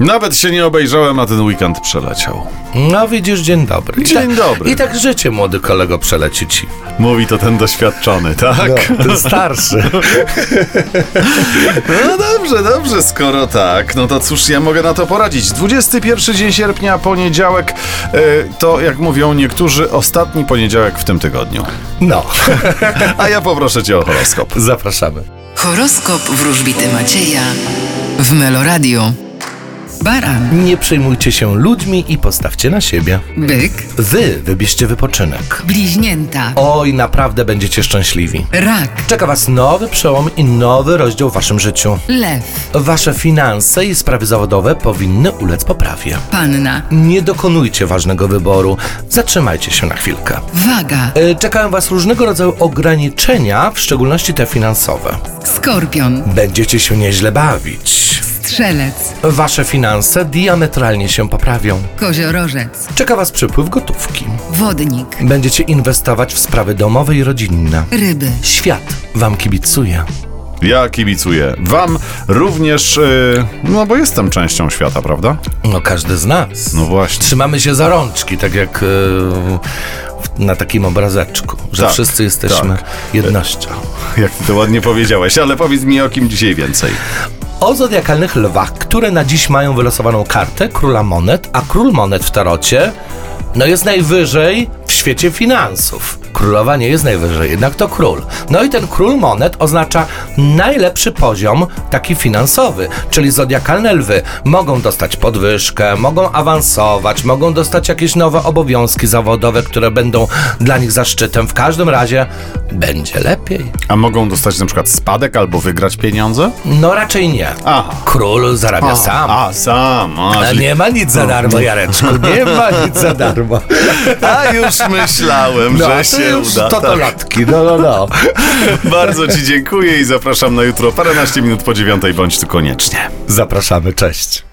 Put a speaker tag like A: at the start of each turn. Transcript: A: Nawet się nie obejrzałem, a ten weekend przeleciał.
B: No widzisz, dzień dobry. I
A: Dzień
B: tak,
A: dobry.
B: I tak życie, młody kolego, przeleci ci.
A: Mówi to ten doświadczony, tak?
B: Ten starszy.
A: No dobrze, dobrze, skoro tak, no to cóż ja mogę na to poradzić. 21 dzień sierpnia, poniedziałek, e, to jak mówią niektórzy, ostatni poniedziałek w tym tygodniu.
B: No,
A: A ja poproszę cię o horoskop.
B: zapraszamy.
C: Horoskop wróżbity Macieja w Meloradio. Baran,
B: Nie przejmujcie się ludźmi i postawcie na siebie.
C: byk,
B: Wy wybierzcie wypoczynek.
C: bliźnięta,
B: Oj, naprawdę będziecie szczęśliwi.
C: rak,
B: Czeka Was nowy przełom i nowy rozdział w Waszym życiu.
C: lew,
B: Wasze finanse i sprawy zawodowe powinny ulec poprawie.
C: panna,
B: Nie dokonujcie ważnego wyboru, zatrzymajcie się na chwilkę.
C: waga,
B: E, Czekają Was różnego rodzaju ograniczenia, w szczególności te finansowe.
C: skorpion,
B: Będziecie się nieźle bawić.
C: strzelec,
B: Wasze finanse diametralnie się poprawią.
C: koziorożec,
B: Czeka Was przypływ gotówki.
C: wodnik,
B: Będziecie inwestować w sprawy domowe i rodzinne.
C: ryby.
B: Świat Wam kibicuje.
A: Ja kibicuję wam również, e, no bo jestem częścią świata, prawda?
B: No każdy z nas.
A: No właśnie.
B: Trzymamy się za rączki, tak jak e, w- na takim obrazeczku, że
A: Tak,
B: wszyscy jesteśmy
A: tak.
B: jednością.
A: Jak ty to ładnie powiedziałeś, ale powiedz mi o kim dzisiaj więcej.
B: O zodiakalnych lwach, które na dziś mają wylosowaną kartę króla monet, a król monet w tarocie no jest najwyżej w świecie finansów. Królowa nie jest najwyżej, jednak to król. No i ten król monet oznacza najlepszy poziom taki finansowy, czyli zodiakalne lwy mogą dostać podwyżkę, mogą awansować, mogą dostać jakieś nowe obowiązki zawodowe, które będą dla nich zaszczytem. W każdym razie będzie lepiej.
A: A mogą dostać na przykład spadek albo wygrać pieniądze?
B: No raczej nie.
A: Aha.
B: Król zarabia sam.
A: A, sam. A,
B: A
A: czyli-
B: nie ma nic za
A: No.
B: darmo, Jareczku. Nie ma nic za darmo.
A: a już myślałem,
B: No,
A: że
B: to
A: się
B: już
A: uda.
B: to, to
A: tak.
B: lotki, no, no, no.
A: Bardzo Ci dziękuję i zapraszam na jutro paręnaście minut po dziewiątej, bądź tu koniecznie.
B: Zapraszamy, cześć.